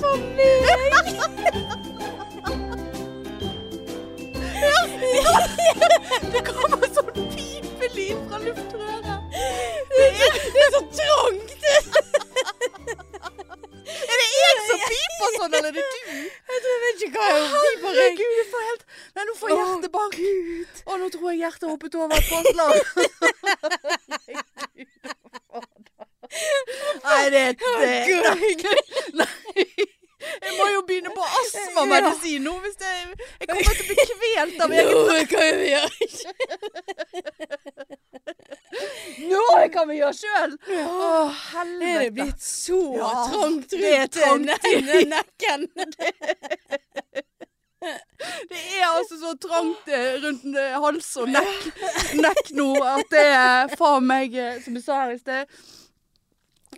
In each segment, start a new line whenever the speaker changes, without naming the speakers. meg!
Det kommer sånn pipelyd fra luftrøret.
Det er, det er så trangt!
Er det jeg som piper sånn, eller er det du?
Jeg vet ikke hva jeg piper. jeg.
Herregud, jeg får helt Nei, nå får jeg hjertebank.
Gud.
Å, nå tror jeg hjertet hoppet over et påslag. Nei, det eh, er Jeg må jo begynne på astmamedisin nå hvis jeg, jeg kommer til å bli kvelt av eget
Noe kan vi gjøre.
Nå kan vi gjøre sjøl! Å,
Er det
helvete.
blitt så
Ja,
trangt
det er
rundt
trangt
ne- ne- nekken?
Det er altså så trangt eh, rundt eh, hals og nekk, nekk nå at det er faen meg, eh, som jeg sa her i sted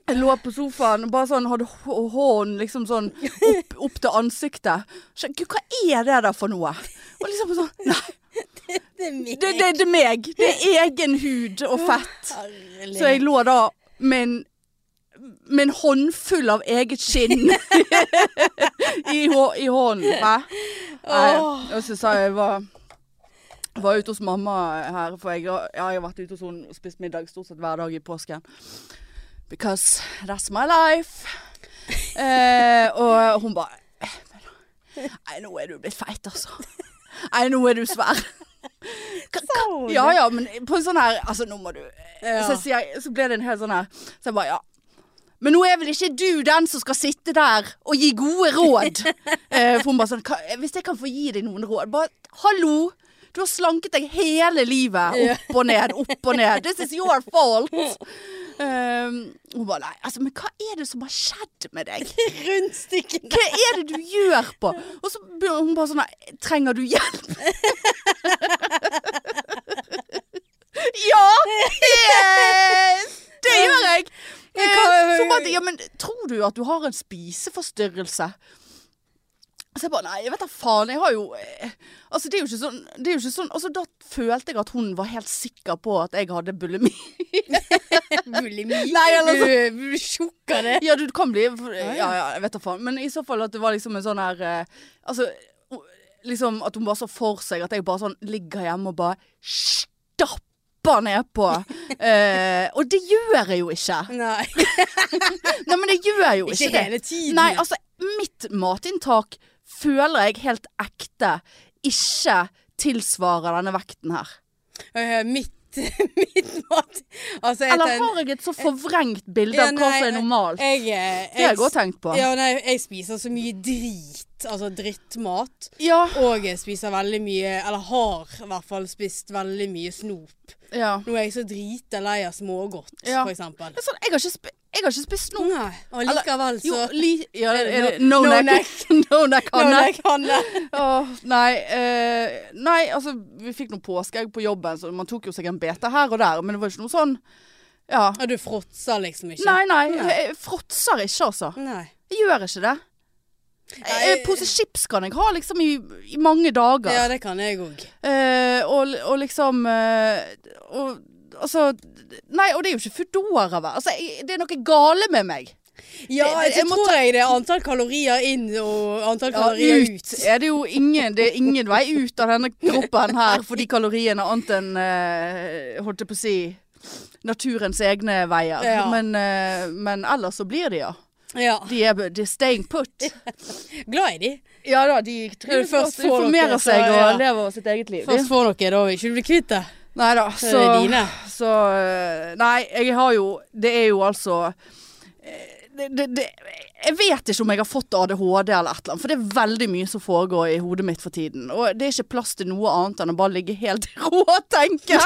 Jeg lå på sofaen og bare sånn hadde hå- hånden liksom sånn opp, opp til ansiktet. Så, Gud, hva er det der for noe? Og liksom sånn Nei,
Det er meg.
det, det, det er meg. Det er egen hud og fett.
Herlig.
Så jeg lå da med en, med en håndfull av eget skinn i, hå, i hånden. Hva? Nei,
Åh.
Og så sa jeg jeg var, var ute hos mamma her, for jeg, har- ja, jeg har vært ute hos henne og spist middag stort sett hver dag i påsken. Because that's my life. Eh, og hun bare "Eh, Nei, nå er du blitt feit, altså. Nei, nå er du svær.
Sa hun det?
Ja ja, men på en sånn her Altså, nå må du
Ja.
så, sier jeg, så ble det en hel sånn her Så jeg bare, ja men nå er vel ikke du den som skal sitte der og gi gode råd. Eh, for hun bare sånn, "Ka- hvis jeg kan få gi deg noen råd. Bare, hallo, du har slanket deg hele livet. Opp og ned, opp og ned. This is your fault. Eh, hun bare, nei, altså, men hva er det som har skjedd med deg?
Rundstykken.
Hva er det du gjør på? Og så begynner hun bare sånn her, Trenger du hjelp? ja! Det, det gjør jeg!
Men hva-
Så bare, ja, men tror du at du har en spiseforstyrrelse? Så jeg bare Nei, jeg vet da faen. Jeg har jo eh, Altså, det er jo ikke sånn, det er jo ikke sånn altså, Da følte jeg at hun var helt sikker på at jeg hadde bulimi.
Bulimi.
Nei, eller
Du, du sjokker det.
Ja, du kan bli
ja.
Ja, ja, jeg vet da faen. Men i så fall at det var liksom en sånn her eh, Altså o- Liksom at hun var så for seg at jeg bare sånn ligger hjemme og bare stapper nedpå. Eh, og det gjør jeg jo ikke.
Nei.
Nei, men det gjør jeg jo ikke,
Ikke
det.
hele tiden.
Nei, altså, mitt matinntak føler jeg helt ekte ikke tilsvarer denne vekten her.
Eh, mitt, mitt mat. Altså, jeg
Eller
ten-
har jeg et så forvrengt bilde
Ja,
av hva
nei,
som er normalt?
Jeg, eh,
Det har jeg også tenkt på.
Ja, nei, jeg spiser så mye drit, altså drittmat.
Ja.
Og jeg spiser veldig mye, eller har i hvert fall spist veldig mye snop.
ja.
Nå er jeg så drita lei av smågodt,
Ja.
for eksempel.
Det er Sånn, jeg, har ikke sp jeg har ikke spist noe.
Nei, og likevel så
Jo, li ja,
Er det
er det
no-
no,
no
neck. no neck
Nå,
Hanne.
jeg kan det.
Åh, nei, eh, nei, altså vi fikk noen påskeegg på jobben, så man tok jo seg en bete her og der, men det var ikke noe sånn Ja.
Ja, du fråtser liksom ikke.
Nei, nei,
Nei.
jeg fråtser ikke, altså.
Nei.
Jeg gjør ikke det.
Nei.
En pose chips kan jeg ha liksom i, i mange dager.
Ja, det kan jeg òg.
Eh, og, og liksom eh, og, Altså Nei, og det er jo ikke Foodora-vær. Altså, jeg, det er noe gale med meg.
Ja,
Det- det-
Eh, jeg
jeg må
tror jeg det er antall kalorier inn og antall
Ja,
kalorier ut.
ut er det jo ingen Det er ingen vei ut av denne kroppen her for de kaloriene annet enn eh, Holdt jeg på å si naturens egne veier.
Ja.
Men, eh, men ellers så blir de, ja.
Ja.
De er, de er staying put.
Glad i de.
Ja da, de
trives godt,
De formerer seg og
ja.
lever sitt eget liv.
Først får dere, da vil ikke du bli kvitt det.
Nei da,
Så
så
er det dine.
Så øh, Nei, jeg har jo Det er jo altså eh, det, det, det, jeg vet ikke om jeg har fått ADHD eller et eller annet, for det er veldig mye som foregår i hodet mitt for tiden. Og det er ikke plass til noe annet enn å bare ligge helt i ro og tenke.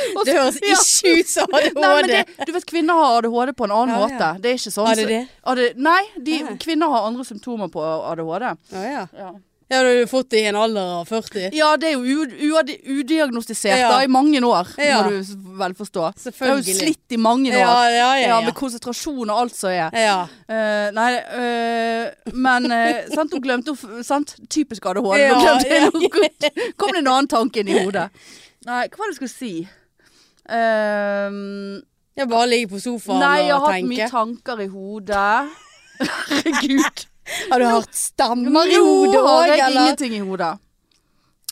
Og
Det høres
så- ja.
ikke ut som
Nei, men
ADHD.
det, du vet, kvinner har ADHD på en annen
Ja, ja.
måte. Det er ikke sånn.
Har de
som-
det?
AD nei, de,
Nei.
kvinner har andre symptomer på ADHD.
Å, ja.
Ja.
Ja, du har jo fått det i en alder av 40.
Ja, det er jo u- uadi- udiagnostisert
Ja.
da, i mange år,
Ja.
må du s- vel forstå. Det
Selvfølgelig.
har jo slitt i mange år.
Ja, ja, ja, ja.
med konsentrasjon og alt som er.
Ja.
Eh, nei, eh, men eh, sant, hun glemte å f- sant? Typisk ADHD.
Ja,
hun glemte
ja.
noe. Kom det en annen tanke inn i hodet. Nei, hva var det jeg skulle si? Ehm,
Jeg bare ligger på sofaen
nei, jeg har
og
hatt mye
tenker.
tanker i hodet. Herregud.
Har du hørt stammer i
Jo,
hodet
har
òg,
jeg
eller?
ingenting i hodet.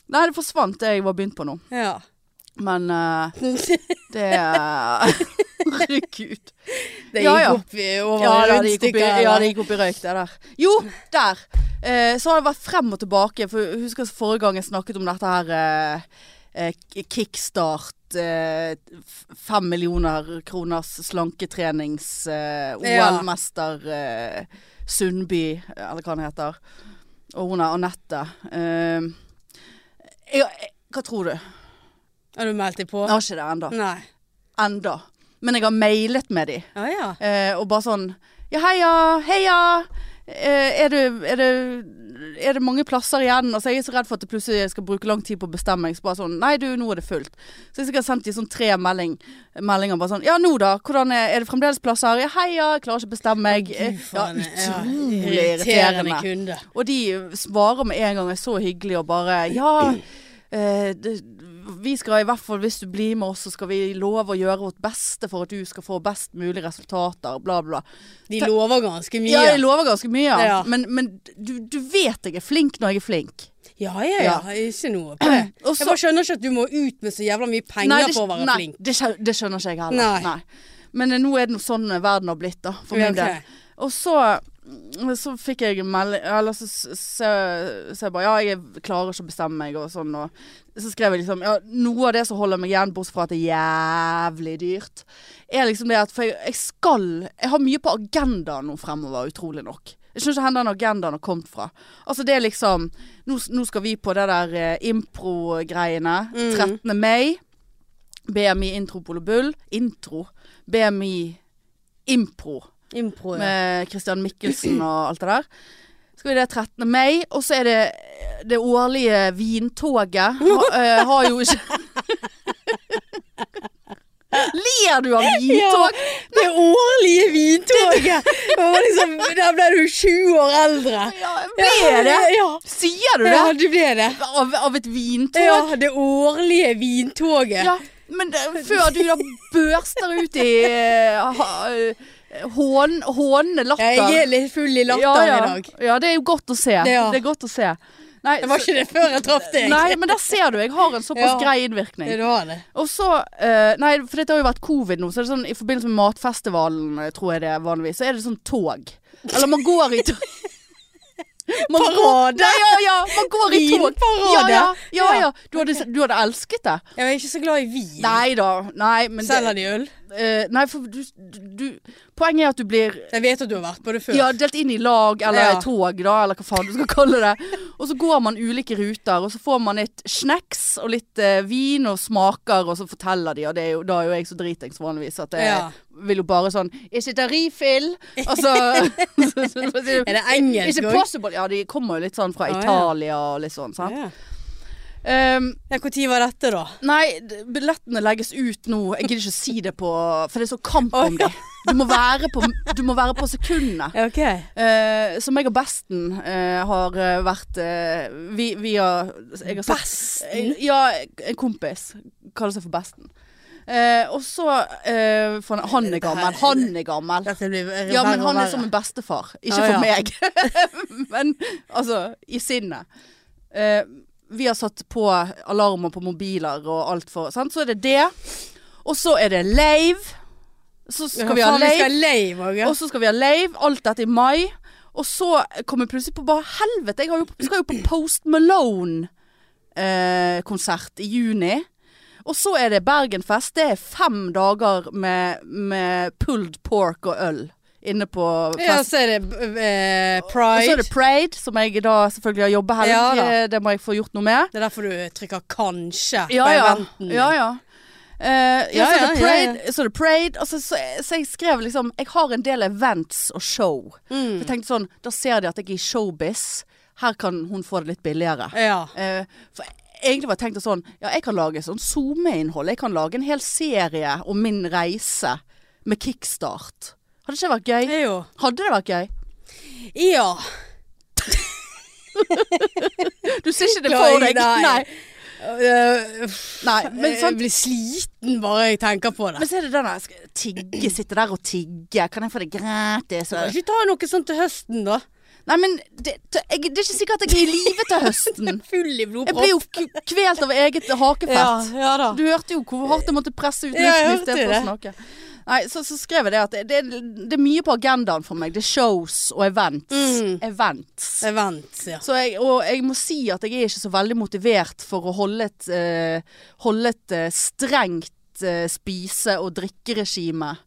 Nei, det forsvant det jeg var begynt på nå.
Ja.
Men eh,
Det
det Herregud.
gikk
Ja, ja.
opp i- over
Ja, da, det gikk opp i,
rundstykket.
ja,
eller?
det gikk opp i røyk, det der. Jo, der. Eh, så har det vært frem og tilbake. For jeg husker forrige gang jeg snakket om dette her eh, eh, k- kickstart eh, f- Fem millioner kroners slanketrenings eh,
Ja.
OL-mester eh, Sundby, eh, eller hva han heter. Og hun er Anette. Eh, jeg, jeg, hva tror du?
Har du meldt deg på?
Jeg har ikke det enda.
Nei.
Enda. Men jeg har mailet med de.
Å ja.
Eh, og bare sånn Ja, heia, heia! Eh, er, det, er, det, er det mange plasser igjen? Altså, jeg er så redd for at jeg plutselig skal bruke lang tid på å bestemme meg. Så bare sånn Nei, du, nå er det fullt. Så jeg har sendt de sånn tre melding, meldinger bare sånn Ja, nå da? Hvordan er, er det fremdeles plasser? Ja, heia! Jeg klarer ikke å bestemme meg. Eh, Ja,
Faen,
utrolig
irriterende
irriterende.
kunde.
Og de svarer med en gang er så hyggelig og bare Ja, eh, det, vi skal i hvert fall, hvis du blir med oss, så skal vi love å gjøre vårt beste for at du skal få best mulig resultater, bla, bla.
De lover ganske mye.
Ja, jeg lover ganske mye, ja.
Ja.
Men, men du, du vet jeg er flink når jeg er flink.
Ja, ja, ja. Ikke noe på det.
Og så-
Jeg bare skjønner ikke at du må ut med så jævla mye penger
Nei, det-
for å være
nei,
flink.
Det, skjø- det skjønner ikke jeg heller.
Nei.
Men eh, nå er det noe sånn verden har blitt, da. For
Ja,
min
ok.
del. Og så, så fikk jeg melding Eller så sa jeg bare Ja, jeg klarer ikke å bestemme meg, og sånn. Og så skrev jeg liksom Ja, noe av det som holder meg igjen, bortsett fra at det er jævlig dyrt, er liksom det at For jeg, jeg skal Jeg har mye på agendaen nå fremover, utrolig nok. Jeg skjønner ikke hvor den agendaen har kommet fra. Altså det er liksom Nå, nå skal vi på det der eh, impro-greiene. 13. mai. BMI Intro Polo Bull. Intro. BMI Impro
Impro, ja.
med Christian Mikkelsen og alt det der. Skal vi det 13. mai, og så er det det årlige vintoget. Ha, eh, har jo ikke Ler du av vintog?
Det årlige vintoget! Det var liksom, der ble du 20 år eldre.
Ja, ble det?
Ja,
Sier du
ja
det?
du ble det.
Av, av et vintog?
Ja, det årlige vintoget.
Ja, men det- før du da børster ut i eh, ha- eh, hån, hånende latter.
Jeg er litt full i
ja,
latter
ja.
i dag.
Ja, det er jo godt å se.
Ja.
Det er godt å se. Nei,
Det var
så-
ikke det før jeg traff deg.
Nei, men der ser du. Jeg har en såpass
Ja.
grei
Ja,
innvirkning.
du har det.
Og så eh, Nei, for dette har jo vært covid nå, så er det sånn i forbindelse med matfestivalen, eh, tror jeg det er vanligvis, så er det sånn tog. Eller man går i tog. Man går-
Parade.
Nei, Ja, ja, man går i tog. Ja,
Vinparade.
ja, ja, ja. Du, hadde, du hadde elsket det.
Jeg er ikke så glad i vin.
Nei da. Nei, men det-
Selger de øl?
eh, Nei, for du, du Poenget er at du blir
Jeg vet at du har vært på det før.
ja, delt inn i lag eller
Ja.
tog, da, eller hva faen du skal kalle det. Og så går man ulike ruter, og så får man litt snacks og litt eh, vin og smaker, og så forteller de, og det er jo, da er jo jeg så dritings vanligvis at jeg
Ja.
vil jo bare sånn Is it a refill? Altså så- så- så sier de,
Er det engelsk
Is it
også?
possible? Ja, de kommer jo litt sånn fra
Å, ja.
Italia og litt sånn, sant.
Ja.
Ehm,
Ja, Når var dette, da?
Nei, d- billettene legges ut nå. Jeg gidder ikke å si det på For det er så kamp
Å,
om
ja.
det. Du må være på, du må være på sekundene.
Ja, Ok.
Eh, så meg og Besten eh, har eh, vært eh, vi, vi har jeg
Altså,
har sagt-
Besten?
Eh, ja, en kompis. Kaller seg for Besten. Eh, og så eh, for han, han er gammel. Han er gammel.
Dette blir verre
Ja, men
og
han er
verre.
som en bestefar. Ikke
Ah,
for
ja.
meg, men altså i sinnet. Eh, vi har satt på alarmer på mobiler og alt for sant? Så er det det. Og så er det lave. Så skal
Ja,
vi ha
faen,
lave.
lave også, ja.
Og så skal vi ha lave, alt dette i mai. Og så kommer jeg plutselig på bare helvete, jeg har jo, skal jo på Post Malone-konsert i juni. Og så er det Bergenfest. Det er fem dager med, med pulled pork og øl inne på
Ja,
fest.
så er det eh,
Og så
pride.
er det Pride, som jeg da selvfølgelig har jobba helg.
Ja da.
Eh, det må jeg få gjort noe med.
Det er derfor du trykker 'kanskje'
Ja
på
ja.
eventen.
ja, ja. Eh, ja,
Ja,
så er det
ja, ja,
Pride. Så, er det pride. Altså, så, så jeg skrev liksom Jeg har en del events og show.
Mm.
For jeg tenkte sånn, da ser de at jeg er i showbiz. Her kan hun få det litt billigere.
Ja.
Eh, for egentlig var jeg tenkt sånn, ja, jeg kan lage sånn SoMe-innhold. Jeg kan lage en hel serie om min reise med kickstart. Hadde ikke det vært
Det
gøy?
er jo
Hadde det vært gøy?
Ja.
Du ser ikke det for deg?
Nei.
Nei.
Eh, uff,
Nei. Men,
jeg
sant?
blir sliten bare jeg tenker på det.
men så er det den der skal jeg Tigge, sitte der og tigge. Kan jeg få det gratis?
Kan ikke ta noe sånt til høsten, da?
Nei, men det, t- jeg, det er ikke sikkert at jeg er i live til høsten.
Full i
Jeg blir
blodpropp.
jo k- kvelt av eget hakefett.
ja da.
Du hørte jo hvor hardt jeg måtte presse ut
Ja, jeg
luften i
hørte
stedet for å
det.
snakke. Nei, så, så skrev jeg det at det, det, det er mye på agendaen for meg. Det er shows og events.
Mm.
Events.
Jeg vent, ja.
Så jeg, og jeg må si at jeg er ikke så veldig motivert for å holde et, eh, holde et eh, strengt eh, spise- og drikkeregime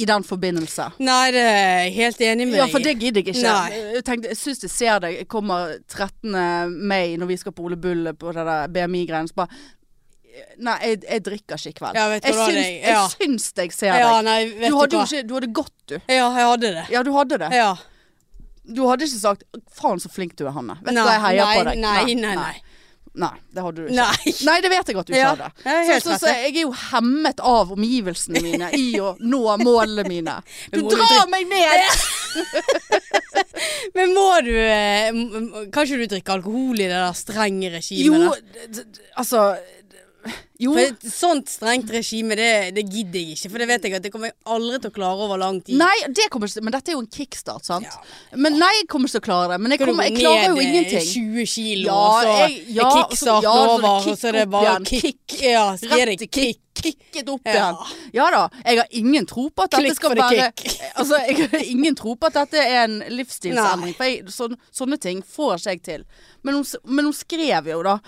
i den forbindelse.
Nei, det er jeg helt enig med
Ja, for
deg i.
det gidder jeg ikke.
Nei.
Jeg, tenkte, jeg syns jeg ser det. Jeg kommer 13. mai når vi skal på Ole Bull på det der BMI-greiene. Så bare Nei, jeg, jeg drikker ikke i kveld.
Ja, vet du
jeg,
hva,
syns,
det- ja.
jeg syns jeg ser
Ja,
deg.
nei, vet
Du hadde
hva.
jo ikke Du hadde gått, du.
Ja, jeg hadde det.
Ja, du hadde det.
Ja.
Du hadde ikke sagt 'faen, så flink du er, Hanne'. Vet du hva, jeg heier
nei,
på deg.
Nei, nei, nei.
Nei, det hadde du ikke.
Nei.
Nei, det vet jeg at du
Ja,
ikke
jeg er
hadde.
helt
Så, så, så
rett,
jeg er jo hemmet av omgivelsene mine i å nå målene mine. Du
Men må du
drar
drikke-
meg ned!
Men må du eh, m- m- Kan ikke du drikke alkohol i det der strenge
Jo,
regimet? der?
d- d- altså Jo. Mm.
For et sånt strengt regime, det, det gidder jeg ikke. For det vet jeg at det kommer jeg aldri til å klare over lang tid.
Nei, det kommer ikke, til- men dette er jo en kickstart, sant?
Ja,
Men nei, jeg kommer ikke til å klare det. Men jeg,
Skal du
kommer,
gå
jeg klarer jo
ned, eh,
ingenting.
20 kilo,
Ja,
og så
jeg- ja,
er
og så-
kickstarten
ja, så er det
over, og
kick
så er det
opp
bare
igjen,
kick.
kick.
Ja, så gir
Rett
det
til
kick.
Kicket opp
Ja.
igjen. Ja da. Jeg har ingen tro på at dette
Klikk
skal
for det
være
kick.
Altså, jeg har ingen tro på at dette er en livsstilsendring. For jeg, sån- sånne ting får ikke jeg til. Men hun, s- men hun skrev jo, da.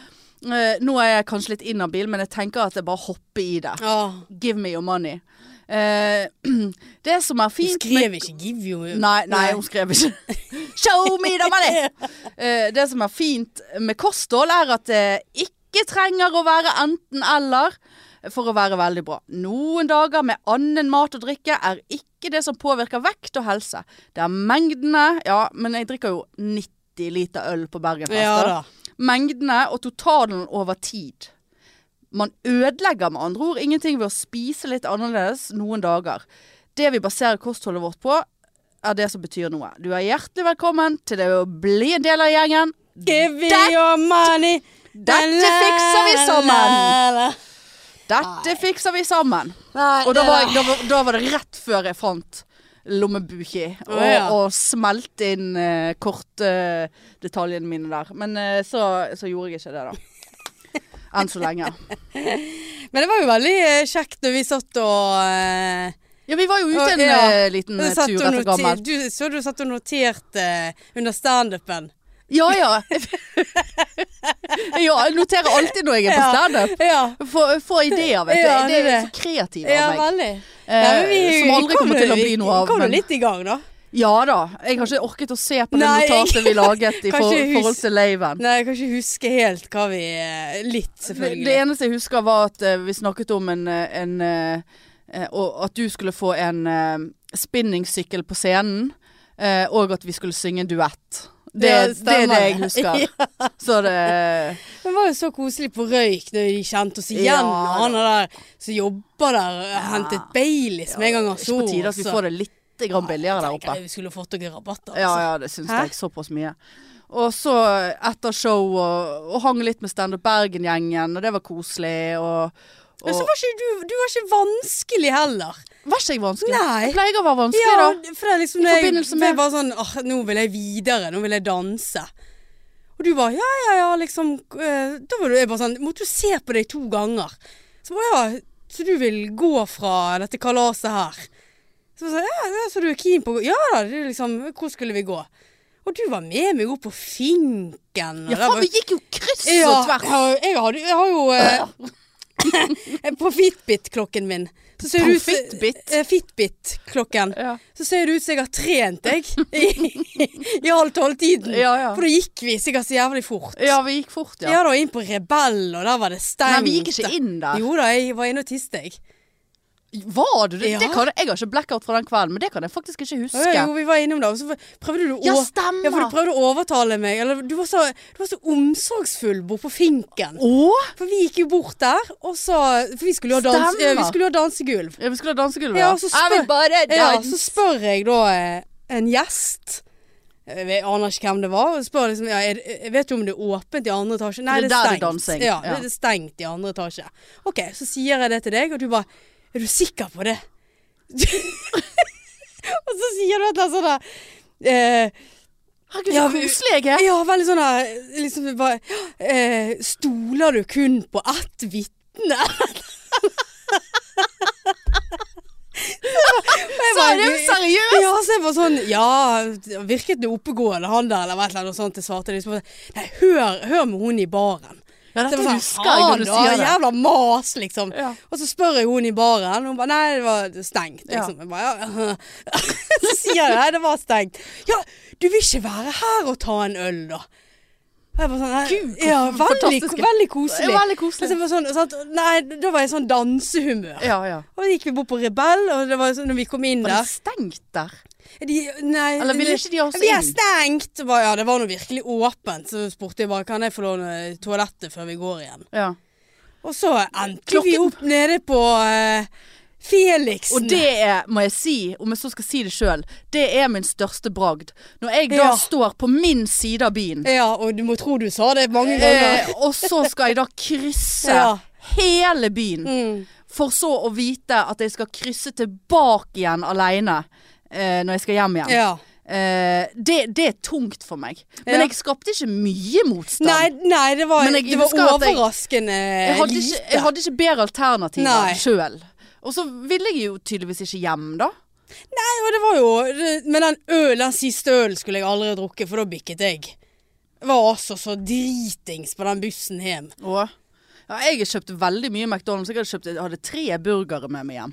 eh, nå er jeg kanskje litt inhabil, men jeg tenker at jeg bare hopper i det.
Ah,
Give me your money. Eh, det som er
hun
fint med-
skrev ikke 'give you'.
Nei, nei, hun skrev ikke. Show me the money! Eh, det som er fint med kosthold, er at det ikke trenger å være enten-eller for å være veldig bra. Noen dager med annen mat og drikke er ikke det som påvirker vekt og helse. Det er mengdene Ja, men jeg drikker jo 90 liter øl på Bergenfest.
Ja
da.
da.
Mengdene og totalen over tid. Man ødelegger med andre ord ingenting ved å spise litt annerledes noen dager. Det vi baserer kostholdet vårt på, er det som betyr noe. Du er hjertelig velkommen til det å bli en del av gjengen.
Give me
Det-
your money.
Dette fikser vi sammen. Dette fikser vi sammen.
Nei,
Og da
det
var,
der.
jeg, da, var, da var det rett før jeg fant lommebuki. Og,
Å, ja.
og smelte inn uh, kortdetaljene mine der. Men eh, så, så gjorde jeg ikke det, da. Enn så lenge.
Men det var jo veldig eh, kjekt når vi satt og eh,
Ja, vi var jo ute en
Ja.
eh, liten eh,
satt
tur
og
etter
noter-
gammelt.
du, Så du satt og noterte eh, under standupen?
Ja, ja. ja, jeg noterer alltid når jeg er på
Ja.
standup.
Ja.
Få- Få ideer, vet du.
Ja,
det
det
er
er
så kreativ
Ja,
av meg.
veldig.
Eh, som aldri kommer til å bli noe av.
Kom du
Men
litt i gang, da?
ja da. Jeg har ikke orket å se på det
Nei, jeg-
notatet vi laget i for,
Kanskje hus-
forhold til laven.
Nei, jeg kan ikke huske helt hva vi eh, Litt,
Det,
selvfølgelig.
det eneste jeg husker var at eh, vi snakket om en, eh, en eh, eh, Og at du skulle få en eh, spinningsykkel på scenen, eh, og at vi skulle synge en duett. Det,
Ja,
det er det jeg
stemmer.
husker. Så det
Men det var jo så koselig på røyk når de kjente oss igjen.
Ja,
og han der som jobber der, eh, hentet Baileys med en gang han så
Ikke på tide at vi
oss, og-
får det litt grann billigere der oppe.
Tenker jeg Vi skulle fått dere rabatt, altså.
Ja, ja, det syns
Hæ?
jeg. Såpass mye. Og så eh, etter show og, og hang litt med Standup Bergen-gjengen, og det var koselig. Og, og
Men så var ikke du, du var ikke vanskelig heller.
Var ikke jeg vanskelig?
Nei.
Jeg pleier å være
Ja,
vanskelig, da.
for det er liksom
I
det,
forbindelse
det
med-
er bare sånn åh, Nå vil jeg videre, nå vil jeg danse. Og du bare ja, ja, ja, liksom eh, Da var du jeg bare sånn Måtte du se på deg to ganger? Så bare ja, så du vil gå fra dette kalaset her? Så sa jeg ja, ja, så du er keen på å gå? Ja da, det er liksom Hvor skulle vi gå? Og du var med meg opp på finken. og det
Ja, faen,
var-
vi gikk jo kryss
ja,
og tvers.
Jeg, har- jeg har jo eh, På Fitbit-klokken min. Så ser
På
det ut som-
Fitbit?
Eh, Fitbit-klokken.
Ja.
Så ser det ut som jeg har trent, jeg. I, i halv tolv-tiden.
Ja, ja.
For da gikk vi sikkert så jævlig fort.
Ja, vi gikk fort, ja.
Ja, da inn på Rebell, og der var det stengt.
Nei, vi gikk ikke inn der.
Jo da, jeg var inne og tiste, jeg.
Var du det?
Ja.
det kan, jeg har ikke blackout fra den kvelden, men det kan jeg faktisk ikke huske.
Ja, Jo, vi var innom det, og så prøvde du å
Ja, stemmer.
Ja, for du prøvde å overtale meg. Eller du var så, du var så omsorgsfull borte på finken.
Åh?
For vi gikk jo bort der, og så For vi skulle jo ha, dans,
Stemmer.
eh, vi skulle jo ha dansegulv.
Ja, vi skulle ha dansegulvet.
Ja, så spør-
jeg vil bare danse.
Ja, så spør jeg da eh, en gjest. Jeg vet- aner ikke hvem det var. Og spør liksom, ja, er, det- vet du om det er åpent i andre etasje? Nei,
For det
det
er
er stengt.
der det er dansing.
Ja,
Ja.
det er stengt i andre etasje. Ok, så sier jeg det til deg, og du bare Er du sikker på det? og så sier du et eller annet sånt der sånn eh,
Herregud,
Ja,
så
vi-
koselig jeg er.
Ja, veldig sånn der liksom bare eh, Stoler du kun på ett vitne?
Så er det jo seriøst.
Ja, så jeg var sånn Ja, virket det oppegående, han der, eller et eller annet sånt? Jeg svarte liksom Nei, hør, hør med hun i baren.
Ja,
Så jeg var
dette
sånn,
husker jeg når du
«Faen,
sier
da,
det.
Jævla mas, liksom.
Ja.
Og så spør jeg hun i baren, hun bare Nei, det var stengt,
Ja.
liksom. Jeg bare, ja. så sier jeg nei, det var stengt. Ja, du vil ikke være her og ta en øl, da? Og Jeg bare sånn, nei,
Gud, hvor
ja, veldig,
fantastisk.
veldig
Det
koselig.
er veldig
Og så
koselig.
var sånn, sant, nei, da var jeg i sånn dansehumør.
Ja, ja.
Og så gikk vi bort på Rebell, og det var sånn når vi kom inn
Var det
der
stengt der?
de, Nei,
Eller ville
de-
ikke de ha oss
vi er
inn?
stengt! Og Bare, ja, det var nå virkelig åpent. Så spurte jeg bare kan jeg få låne toalettet før vi går igjen.
Ja.
Og så endte vi
Klokken-
opp nede på eh, Felixen.
Og det er, må jeg si, om jeg så skal si det sjøl, det er min største bragd. Når jeg da
Ja.
står på min side av byen,
Ja, og du må tro du sa det mange ganger.
eh, og så skal jeg da krysse
Ja.
hele byen,
Mm.
for så å vite at jeg skal krysse tilbake igjen aleine eh, når jeg skal hjem igjen.
Ja.
Eh, det, det er tungt for meg. Men
Ja.
jeg skapte ikke mye motstand.
Nei, nei, det var,
Men jeg
det var
husker at jeg-
overraskende
jeg hadde,
lite.
ikke, jeg hadde ikke bedre
Nei.
alternativer sjøl. Og så ville jeg jo tydeligvis ikke hjem, da.
Nei, og det var jo det- Men den øl, den siste ølen skulle jeg aldri drukke, for da bikket jeg. Jeg Var altså så dritings på den bussen hjem.
Åh. Ja, jeg har kjøpt veldig mye McDonald's. Jeg hadde, kjøpt, jeg hadde tre burgere med meg hjem.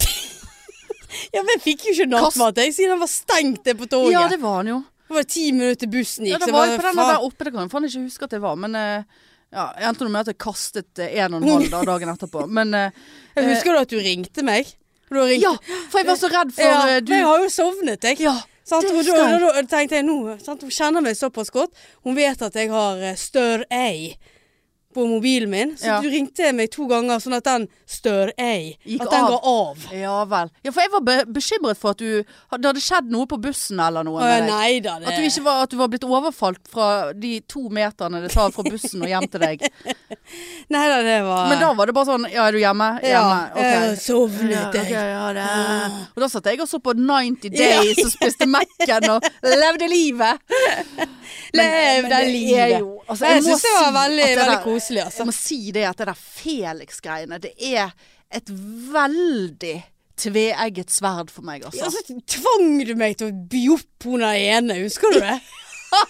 Ja, men Jeg fikk jo ikke nattmat, jeg, siden den var stengt det på toget.
Ja,
det...
det var den jo.
var ti minutter til bussen gikk.
Ja, det
så
var
jeg
jo på
bare,
den der
faen.
oppe. Det kan jeg faen ikke huske at det var. Men eh, ja, jeg endte nå med at jeg kastet eh, en og en halv da, dagen etterpå. Men eh,
Jeg husker du at du ringte meg? Og du ringte
ja, for jeg var så redd for
Ja,
eh,
men
du
jeg har jo sovnet, jeg.
Ja,
Sant?
det
Og da,
husker jeg.
da, da tenkte jeg nå sant? Hun kjenner meg såpass godt. Hun vet at jeg har eh, Stør A på mobilen min. Så
Ja.
du ringte meg to ganger sånn at den Stør A
Gikk
At den
av.
går av.
Ja vel. Ja, for jeg var be bekymret for at du Det hadde skjedd noe på bussen eller
Å
noe.
ja,
med deg.
nei da. Det.
At du ikke var, at du var blitt overfalt fra de to meterne det tar fra bussen og hjem til deg.
Nei da, det var
Men da var det bare sånn Ja, er du hjemme?
ja,
Hjemme. ok.
jeg har sovnet, jeg.
Og da satt jeg og så på 90 Days og spiste Mac-en og levde livet.
Lev Eh, det livet.
altså,
Nei, jeg
må
syns det var
si
veldig,
at det
veldig
der-
koselig, altså.
Jeg må si det at det der Felix-greiene, det er et veldig tveegget sverd for meg, altså.
Ja, så tvang du meg til å by opp hun der ene, husker du det?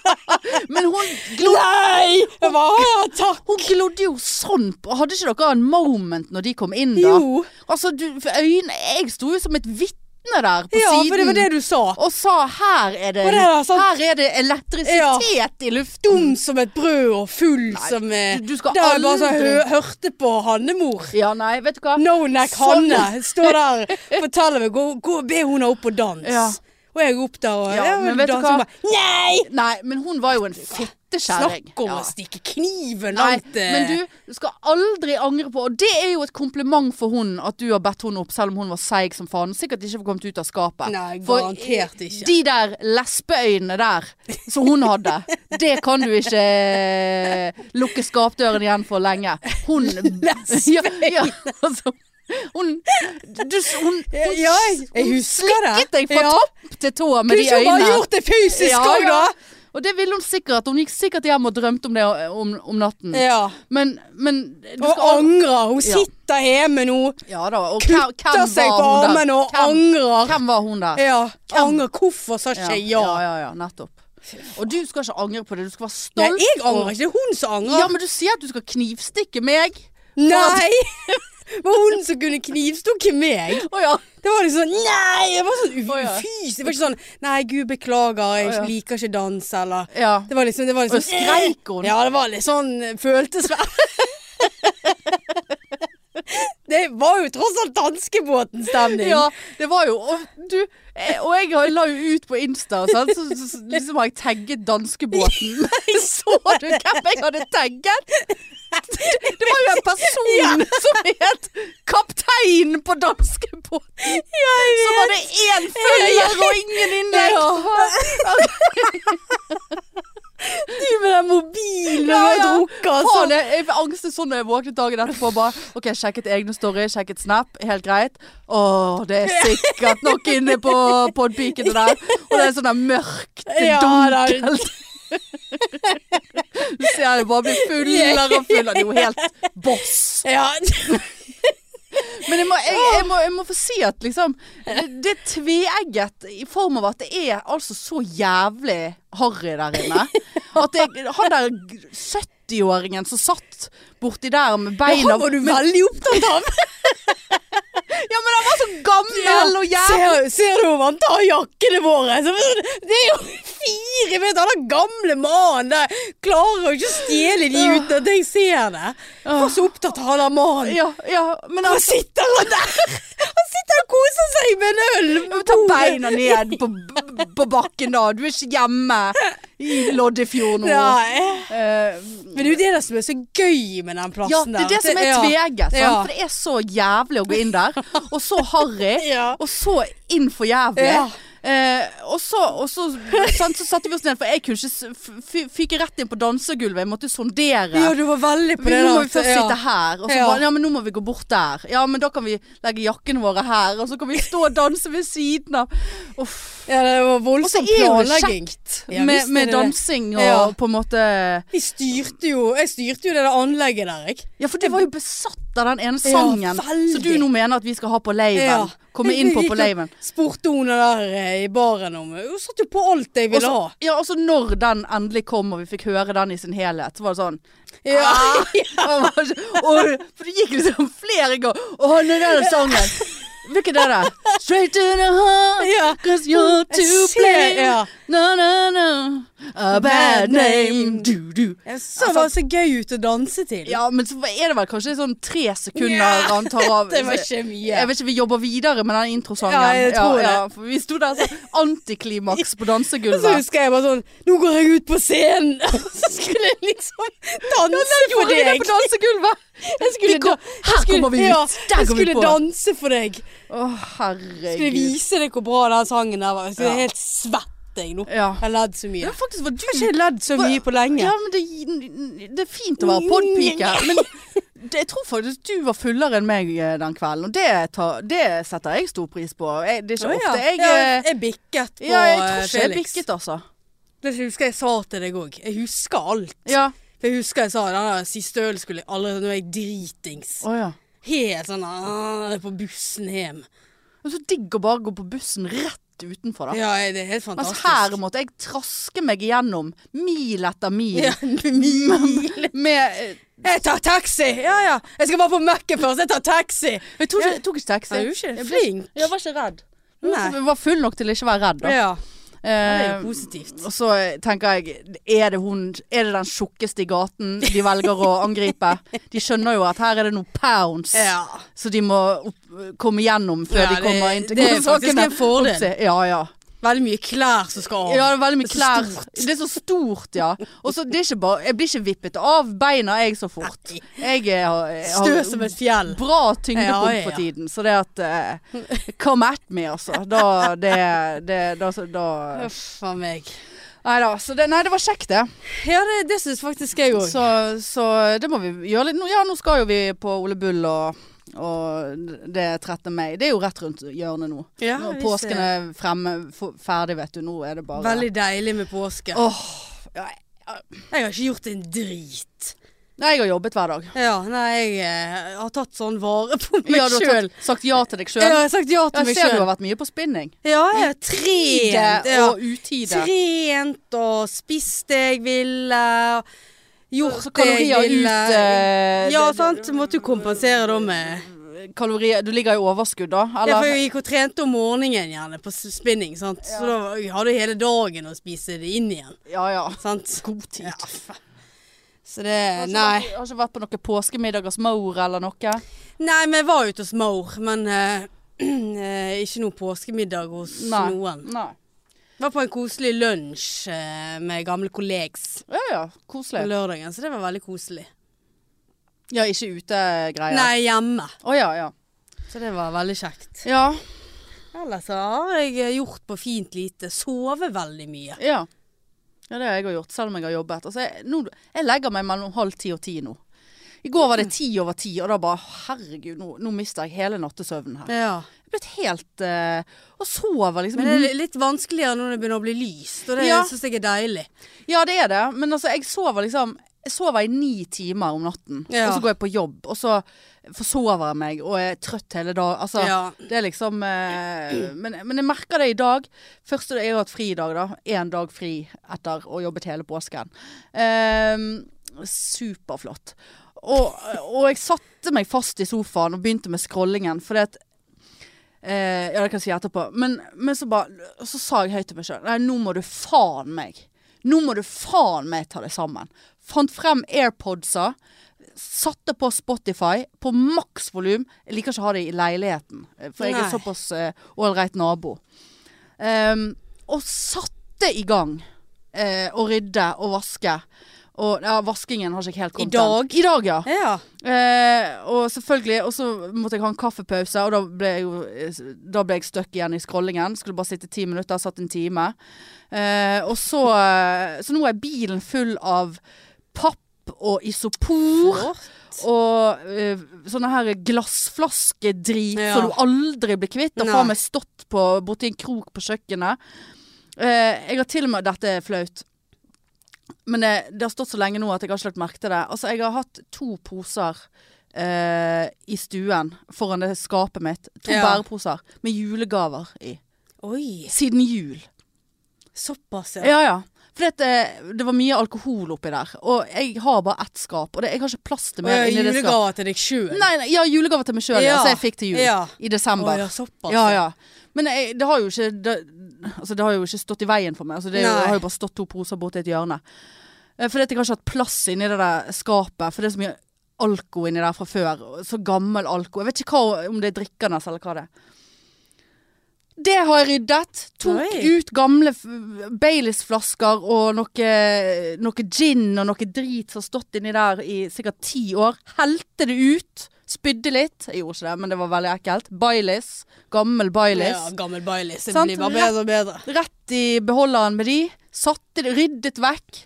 Men hun, glo
Nei! Jeg bare, ja, takk.
hun glodde jo sånn på Hadde ikke dere en moment når de kom inn, da?
Jo.
Altså, du, for øynene Jeg sto jo som et vitne der på
Ja,
siden.
for det var det du sa.
og sa her er det,
Og det er sant.
her er det elektrisitet i luften.
Dum som et brød og full som eh,
Mm. du- du skal
Der jeg bare så
aldri-
hø hørte på Hannemor.
Ja, nei, vet du hva?
No neck
Sånn.
Hanne. Står der forteller meg. Gå, gå, be hun opp og dans.
Ja.
Og jeg opp der og
Ja,
ja,
men vet du
dans,
hva?
hun bare, Nei!
Nei, men hun var jo en fittekjerring.
Snakk om
Ja.
å stikke kniven
Nei,
langt eh.
men du, du skal aldri angre på Og det er jo et kompliment for hun at du har bedt hun opp, selv om hun var seig som faen. Sikkert ikke kommet ut av skapet.
Nei,
For
garantert ikke.
De der lesbeøynene der som hun hadde, det kan du ikke eh, lukke skapdøren igjen for lenge. Hun
Lesbeøyne.
Ja, ja, altså, hun, du, hun, hun
Ja, jeg, jeg husker det.
slikket deg fra
Ja.
topp til tå
Kunne
med de
ikke hun bare
øynene.
gjort det fysisk
Ja,
òg,
ja. Og det ville hun sikkert. Hun gikk sikkert hjem og drømte om det om, om natten.
da? Ja.
Men, men Mm. du
Og
skal
angrer. Hun
Ja.
sitter hjemme nå,
Ja da. Og hvem- hvem
kutter seg
var
på
hun der?
armene og
Hvem-
angrer.
Hvem var hun der?
Ja, angrer. Hvorfor sa
Ja,
ikke jeg
ja,
ja?
ja, ja, nettopp. Og du skal ikke angre på det. Du skal være
Nei,
stolt.
jeg
og-
angrer ikke. Det er hun som angrer.
Ja, men du sier at du skal knivstikke meg.
Nei! Det var hun som kunne knivstukke meg.
Å ja.
Det var liksom sånn Nei! Jeg var sånn
Å, ja.
ufys. Det var ikke sånn Nei, gud, beklager, jeg
Å, ja.
liker ikke dans, eller
ja.
Det var liksom, det var liksom
Og skreik hun?
Ja, det var litt sånn Føltes vel Det var jo tross alt danskebåten-stemning.
Ja, det var jo Og, du, eh, og jeg har- la jo ut på Insta, sant? Så, så, så liksom har jeg tagget danskebåten. Så du hvem jeg hadde tagget? Det var jo en person som het kaptein på danskebåten. Så var det én følger og ingen innlegg.
Du med den mobilen
Ja,
og
ja.
drukket og
Faen,
sånn.
jeg, jeg angstet sånn da jeg våknet dagen etterpå. Bare, ok, Sjekket egne story, sjekket Snap. Helt greit. Å, det er sikkert nok inne på podpikene der. Og det er sånn der mørkt,
Ja, det er-
dunkelt. Du ser det bare blir fullere og fullere. Det er jo helt boss.
Ja.
Men jeg må, jeg, jeg må, jeg må få si at liksom Det, det er tveegget i form av at det er altså så jævlig harry der inne. At jeg, han der 70-åringen som satt borti der med beina
Han var du veldig opptatt av.
Ja, men han var så gammel og jævlig
ser, ser du om han tar jakkene våre? Så, det er jo fire meter! Han er gamle mannen der klarer jo ikke å stjele de uten at jeg ser det. Jeg var så opptatt av han der mannen.
ja, ja, men
Nå
han
sitter han der! Han sitter og koser seg med en øl.
Ta beina ned på, på bakken, da. Du er ikke hjemme i Loddefjord nå.
Nei.
Eh,
Men det er jo det der som er så gøy med den
Ja,
plassen
det er det som
der.
er
Ja.
tveget. sant? For det er så jævlig å gå inn der. Og så harry.
Ja.
Og så inn for jævlig.
Ja.
Eh, og så, og så, sant, så satte vi oss ned, for jeg kunne ikke s- f- f- Fyke rett inn på dansegulvet. Jeg måtte sondere.
Ja, du var veldig på
Men
det
nå
der.
må vi først
Ja.
sitte her, og så
Ja.
bare Ja, men nå må vi gå bort der. Ja, men da kan vi legge jakkene våre her, og så kan vi stå og danse ved siden av. Uff.
Ja, det var
Og så
voldsom
er jo det
planlegging.
kjekt
Ja,
med,
visst er
med
det det.
dansing og
Ja.
på en måte
Vi styrte jo, jeg styrte jo det der anlegget der, jeg.
Ja, for du var jo besatt av den ene sangen
veldig.
som du nå mener at vi skal ha på laven.
Ja.
Komme inn på på
Jeg gikk og
laven.
Spurte hun der eh, i baren om Hun satt jo på alt jeg
Og
ville
så-
ha.
ja, og så når den endelig kom og vi fikk høre den i sin helhet, så var det sånn
Ja.
ah, og, og, For det gikk liksom flere ganger. Og den der sangen Hvilken er det? Straight to the heart,
Ja. Mm,
cause you're
Jeg
to
ser-
blame.
ja.
No, no, no. A bad name. Du, du.
Jeg Så det var så gøy ut å danse til.
altså- Ja, men så er det vel kanskje sånn tre sekunder
Ja,
han tar av.
Det var ikke mye.
altså, Jeg vet ikke, Vi jobber videre med den introsangen.
Ja, jeg tror det.
for vi sto der sånn antiklimaks på
Og så
dansegulvet.
husker jeg bare sånn Nå går jeg ut på scenen! Så skulle jeg liksom danse for
Gjorde vi det
deg.
på dansegulvet?
Jeg skulle,
Vi
da-
kom- her
jeg skulle,
kommer vi ut.
Ja,
Der
jeg
går vi
skulle
på.
danse for deg. Skulle
Å, herregud.
vise deg hvor bra den sangen der var. Jeg
Ja.
er helt svett jeg nå.
Ja.
Jeg har ledd så mye.
ja, faktisk var du
Jeg har ikke ledd så mye på lenge.
Ja, men det, det er fint å være podpike, men det, jeg tror faktisk du var fullere enn meg eh, den kvelden. Og det, tar, det setter jeg stor pris på. Jeg, det er ikke
Å, ja.
ofte jeg
Ja,
eh,
jeg bikket på
ja, jeg tror
eh,
ikke jeg
Felix.
bikket, altså.
Det husker jeg sa til deg òg. Jeg husker alt.
Ja.
For Jeg husker jeg sa den der siste øl skulle jeg aldri Nå er jeg dritings.
Å, ja.
Helt sånn ah, på bussen hjem.
Det er så digg å bare gå på bussen rett utenfor, da.
Ja, jeg- det er helt
Mens
fantastisk.
her måtte jeg traske meg igjennom mil etter mil.
ja, mil.
Med eh,
Jeg tar taxi! Ja ja. Jeg skal bare på Mac-en først. Jeg tar taxi.
Jeg tok ikke, tok ikke taxi.
Ja, du er ikke
Jeg ble-
flink.
Jeg var ikke redd.
Nei.
Jeg var full nok til ikke å være redd, da.
Ja, det er
Eh,
jo positivt.
og så tenker jeg, er det, hun, er det den tjukkeste i gaten de velger å angripe? De skjønner jo at her er det noen pounds,
Ja.
så de må opp, komme gjennom før
Ja,
de
det-
kommer inn til
det er faktisk
sakene.
en fordel.
Oppsi- Ja, ja.
Veldig mye klær som skal av.
Ja, det er veldig mye
Det er så
klær.
stort.
Det er så stort, ja. Og så det er ikke bare Jeg blir ikke vippet av beina, jeg, så fort.
Nei.
Jeg, er, jeg
Stø som et fjell.
bra tyngdepunkt
Ja, ja, ja.
for tiden, så det at eh, Come at me, altså. Da det, det da, så- da
Huff a meg.
Nei da. Så det, nei, det var kjekt, det.
Ja, det, det syns faktisk jeg òg.
Så, så det må vi gjøre litt. Nå, ja, nå skal jo vi på Ole Bull og og det 13. mai. Det er jo rett rundt hjørnet nå.
Ja,
Nå er
vi
påsken
ser.
er fremme, f- ferdig, vet du. Nå er det bare
Veldig deilig med påske.
Åh. ja,
Jeg har ikke gjort en drit.
Nei, jeg har jobbet hver dag.
Ja, nei, jeg eh, har tatt sånn vare på meg
Ja, du har
sjøl.
tatt, sagt ja til deg
Ja, jeg
sjøl.
har sagt ja til
Jeg
meg
ser du
sjøl.
har vært mye på spinning.
Ja, jeg har trent.
Tide
Ja.
og utide.
Trent og spist det jeg ville. og Gjort
Så
det jeg
kalorier ut
ville.
eh,
ja,
det-
sant. Måtte jo kompensere da med
Kalorier Du ligger i overskudd, da?
Ja, for
Eller?
jeg gikk og trente om morgenen gjerne på s- spinning, sant. Så da var- jeg hadde jeg hele dagen å spise det inn igjen.
Ja ja.
Sant. God tid. Ja, fa- så det
Har
Nei.
ikke- Har ikke vært på noen påskemiddag hos Maur eller noe?
Nei, men jeg var ute hos mor, men eh, eh, ikke noe påskemiddag hos
Nei.
noen.
Nei.
Var på en koselig lunsj eh, med gamle kollegs
Ja ja,
på
koselig.
lørdagen, så det var veldig koselig.
Ja, ikke ute-greier?
Nei, hjemme.
Å ja, ja.
Så det var veldig kjekt.
Ja.
Ellers så har jeg gjort på fint lite. Sove veldig mye.
ja. Ja, det har jeg også gjort, selv om jeg har jobbet. Altså, jeg, nå, jeg legger meg mellom halv ti og ti nå. I går var det ti over ti, og da bare Herregud, nå, nå mister jeg hele nattesøvnen her.
Ja.
Jeg er blitt helt eh, Og sover liksom
Men det er li- litt vanskeligere når det begynner å bli lyst, og det
Ja.
synes jeg er deilig.
Ja, det er det. Men altså, jeg sover liksom jeg sover i ni timer om natten,
Ja.
og så går jeg på jobb, og så forsover jeg meg og er trøtt hele dagen. Altså,
Ja.
det er liksom eh, men, men jeg merker det i dag. Først jeg har hatt fri i dag, da. Én dag fri etter å ha jobbet hele påsken. Ehm, superflott. Og, og jeg satte meg fast i sofaen og begynte med scrollingen, fordi at Eh, ja, det kan jeg si etterpå. Men, men så, bare, så sa jeg høyt til meg sjøl Nei, nå må du faen meg. Nå må du faen meg ta deg sammen. Fant frem AirPodsa. Satte på Spotify på maksvolum. Jeg liker ikke å ha det i leiligheten, eh, for jeg
Nei.
er såpass eh, ålreit nabo. Ehm, og satte i gang eh, å rydde og vaske. Og ja, vaskingen har ikke jeg helt kommet ennå.
dag?
I dag, ja.
Ja.
Eh, og selvfølgelig, og så måtte jeg ha en kaffepause, og da ble jeg, jo, eh, da ble jeg støkk igjen i scrollingen. Skulle bare sitte ti minutter, satt en time. Eh, og så, eh, så nå er bilen full av papp og isopor. Og eh, sånne her glassflaskedrit
Ja.
som du aldri blir kvitt. Har
Nei.
faen meg stått på, borti en krok på kjøkkenet. Eh, jeg har til og med Dette er flaut. Men det, det har stått så lenge nå at jeg har ikke lagt merke til det. Altså, jeg har hatt to poser eh, i stuen foran det skapet mitt. To
Ja.
bæreposer med julegaver i.
Oi,
Siden jul.
såpass, ja.
Ja, ja. For det, det var mye alkohol oppi der. Og jeg har bare ett skap. Og det, jeg har ikke plass til
Og
mer
jeg
inni
har
det skapet.
julegaver til deg sjøl.
Nei, nei, ja, julegave til meg sjøl, ja.
Ja.
Så jeg fikk til jul.
Ja.
I desember.
ja, såpass.
Ja, ja. Men jeg, det, har jo ikke, det, altså det har jo ikke stått i veien for meg. Altså det er jo,
Nei.
har jo bare stått to poser borti et hjørne. Eh, Fordi at jeg har ikke hatt plass inni det der skapet. For det er så mye alko inni der fra før. og Så gammel alko. Jeg vet ikke hva, om det er drikkende eller hva det er. Det har jeg ryddet. Tok
Oi.
ut gamle f- Baileys-flasker og noe, noe gin og noe drit som har stått inni der i sikkert ti år. Helte det ut. Spydde litt. Jeg gjorde ikke det, men det var veldig ekkelt. Baileys. Gammel Baileys.
Ja, gammel Baileys. Det
Sant?
blir bare bedre og bedre.
Rett i beholderen med de. Satte det, ryddet vekk.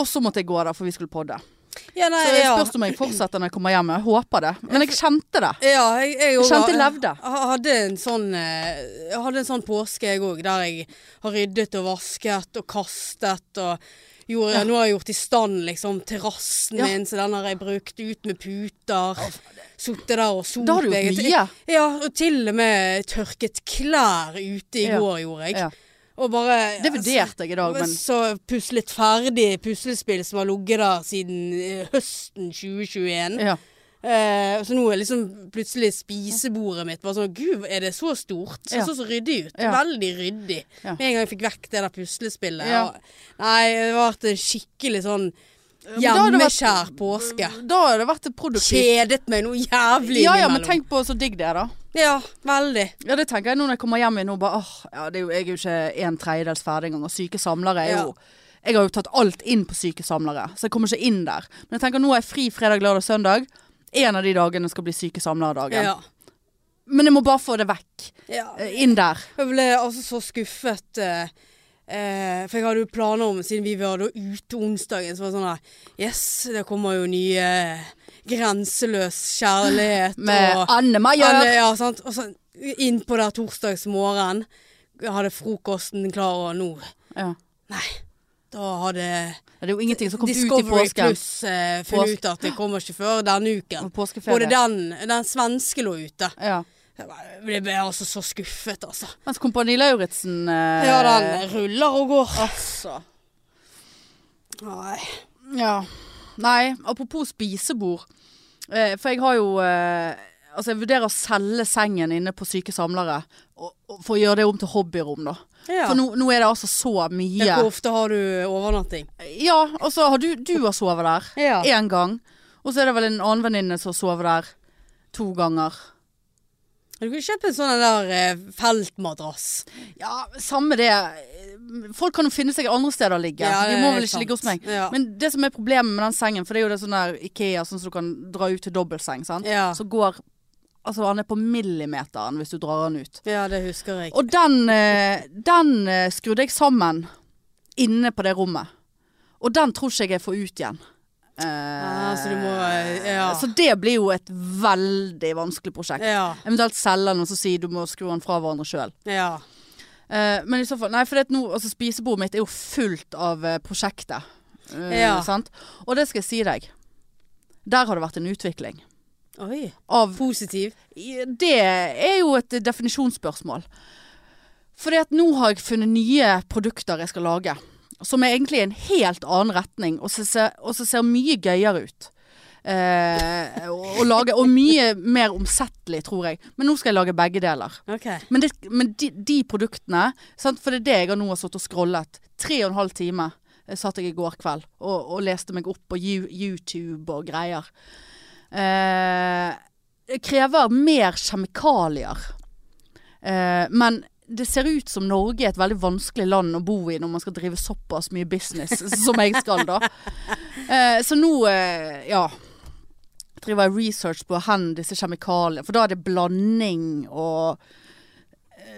Og så måtte jeg gå, da, for vi skulle podde.
Ja, nei,
Så det
ja.
spørs om jeg fortsetter når jeg kommer hjem. Jeg håper det. Men jeg kjente det.
Ja, jeg, jeg, også-
kjente jeg levde.
ha- Hadde en sånn, eh, jeg hadde en sånn påske jeg òg, der jeg har ryddet og vasket og kastet og gjorde, Nå har jeg gjort i stand liksom terrassen
Ja.
min, så den har jeg brukt ut med puter. Sittet der og solt
Da har du gjort
Jeg-
mye.
Ja, og til og med tørket klær ute i
Ja.
går gjorde jeg.
Ja.
Og bare altså,
Det vurderte jeg i dag, men
Så puslet ferdig puslespill som har ligget der siden eh, høsten 2021.
ja.
Eh, så nå er liksom plutselig spisebordet mitt bare sånn Gud, er det så stort? Det
Ja.
så så ryddig ut.
Ja.
Veldig ryddig.
Ja.
Med en gang jeg fikk vekk det der puslespillet.
Ja.
og- Nei, det har vært en skikkelig sånn
da har det vært-
hjemmeskjær påske.
Da har det vært produktivt.
Kjedet meg noe jævlig
Ja, ja, men
innimellom.
tenk på så digg det er, da.
Ja, veldig.
Ja, det tenker jeg nå når jeg kommer hjem igjen. nå Bare, åh, ja, det er jo, jeg er jo ikke en tredjedels ferdig engang. Og syke samlere er
Ja.
jo Jeg har jo tatt alt inn på syke samlere, så jeg kommer ikke inn der. Men jeg tenker nå er jeg fri fredag, lørdag, søndag. En av de dagene skal bli syke samlere-dagen.
Ja.
Men jeg må bare få det vekk.
ja.
eh, Inn der.
Jeg ble altså så skuffet. eh, eh, for jeg hadde jo planer om, siden vi var da ute onsdagen, så var det sånn her Yes, det kommer jo nye eh, Grenseløs kjærlighet
Med
og
Anne Maier.
Alle, ja, sant? Og så innpå der torsdagsmorgen hadde frokosten klar, og nå
Ja.
Nei. Da hadde
Det er jo ingenting som kom ut i
Discovery
påsken.
Plus eh, funnet ut at det kommer ikke før denne uken.
Og påskeferie.
Både den, den svenske lå ute.
Ja.
Jeg bare- Jeg ble altså så skuffet, altså.
Mens Kompani Lauritzen eh,
Ja, den ruller og går.
Altså.
Nei.
Ja. Nei, apropos spisebord. Eh, for jeg har jo eh, Altså, jeg vurderer å selge sengen inne på Syke samlere. Og, og, for å gjøre det om til hobbyrom, da.
Ja.
For nå, nå er det altså så
Ja,
mye.
Hvor ofte har du overnatting?
Ja, og så har du Du har sovet der
Ja.
én gang. Og så er det vel en annen venninne som har sovet der to ganger.
Du kunne kjøpe en sånn der eh, feltmadrass.
Ja, samme det. Folk kan jo finne seg andre steder å ligge.
Ja, det
De må
er
vel ikke
sant.
ligge hos meg.
Ja.
Men det som er problemet med den sengen, for det er jo det sånn der Ikea, sånn som du kan dra ut til dobbeltseng, sant?
Ja.
så går Altså, han er på millimeteren hvis du drar han ut.
Ja, det husker jeg.
Og den, eh, den eh, skrudde jeg sammen inne på det rommet. Og den tror ikke jeg jeg får ut igjen. Eh,
Ah, så du må, ja.
Så det blir jo et veldig vanskelig prosjekt.
Ja.
Eventuelt selge den og så si du må skru den fra hverandre sjøl.
Ja.
Eh, men i så fall Nei, for det at nå, altså, spisebordet mitt er jo fullt av eh, prosjektet. Eh,
Ja.
sant? Og det skal jeg si deg. Der har det vært en utvikling.
Oi.
Av
Positiv.
Det er jo et definisjonsspørsmål. Fordi at nå har jeg funnet nye produkter jeg skal lage. Som er egentlig i en helt annen retning, og som ser, og som ser mye gøyere ut. Eh, å, å lage, og mye mer omsettelig, tror jeg. Men nå skal jeg lage begge deler.
OK.
Men, det, men de, de produktene sant? For det er det jeg har nå har satt og scrollet. Tre og en halv time eh, satt jeg i går kveld og, og leste meg opp på Yu- YouTube og greier. Eh, det krever mer kjemikalier. Eh, men det ser ut som Norge er et veldig vanskelig land å bo i når man skal drive såpass mye business som jeg skal, da. Eh, så nå, eh, ja Driver jeg research på hvor disse kjemikaliene For da er det blanding og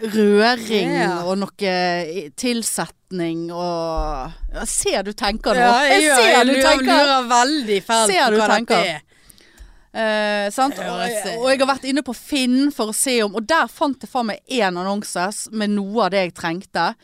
eh, røring
Ja.
og noe i- tilsetning og Jeg ser du tenker nå.
Ja, jeg,
ser
gjør-
du
jeg lurer,
tenker.
lurer veldig fælt
Ser
på
du
hva dette
tenker?
er.
Eh, sant?
Ja,
Og,
jeg ser.
og jeg har vært inne på Finn for å se om Og der fant jeg faen meg én annonse s- med noe av det jeg trengte.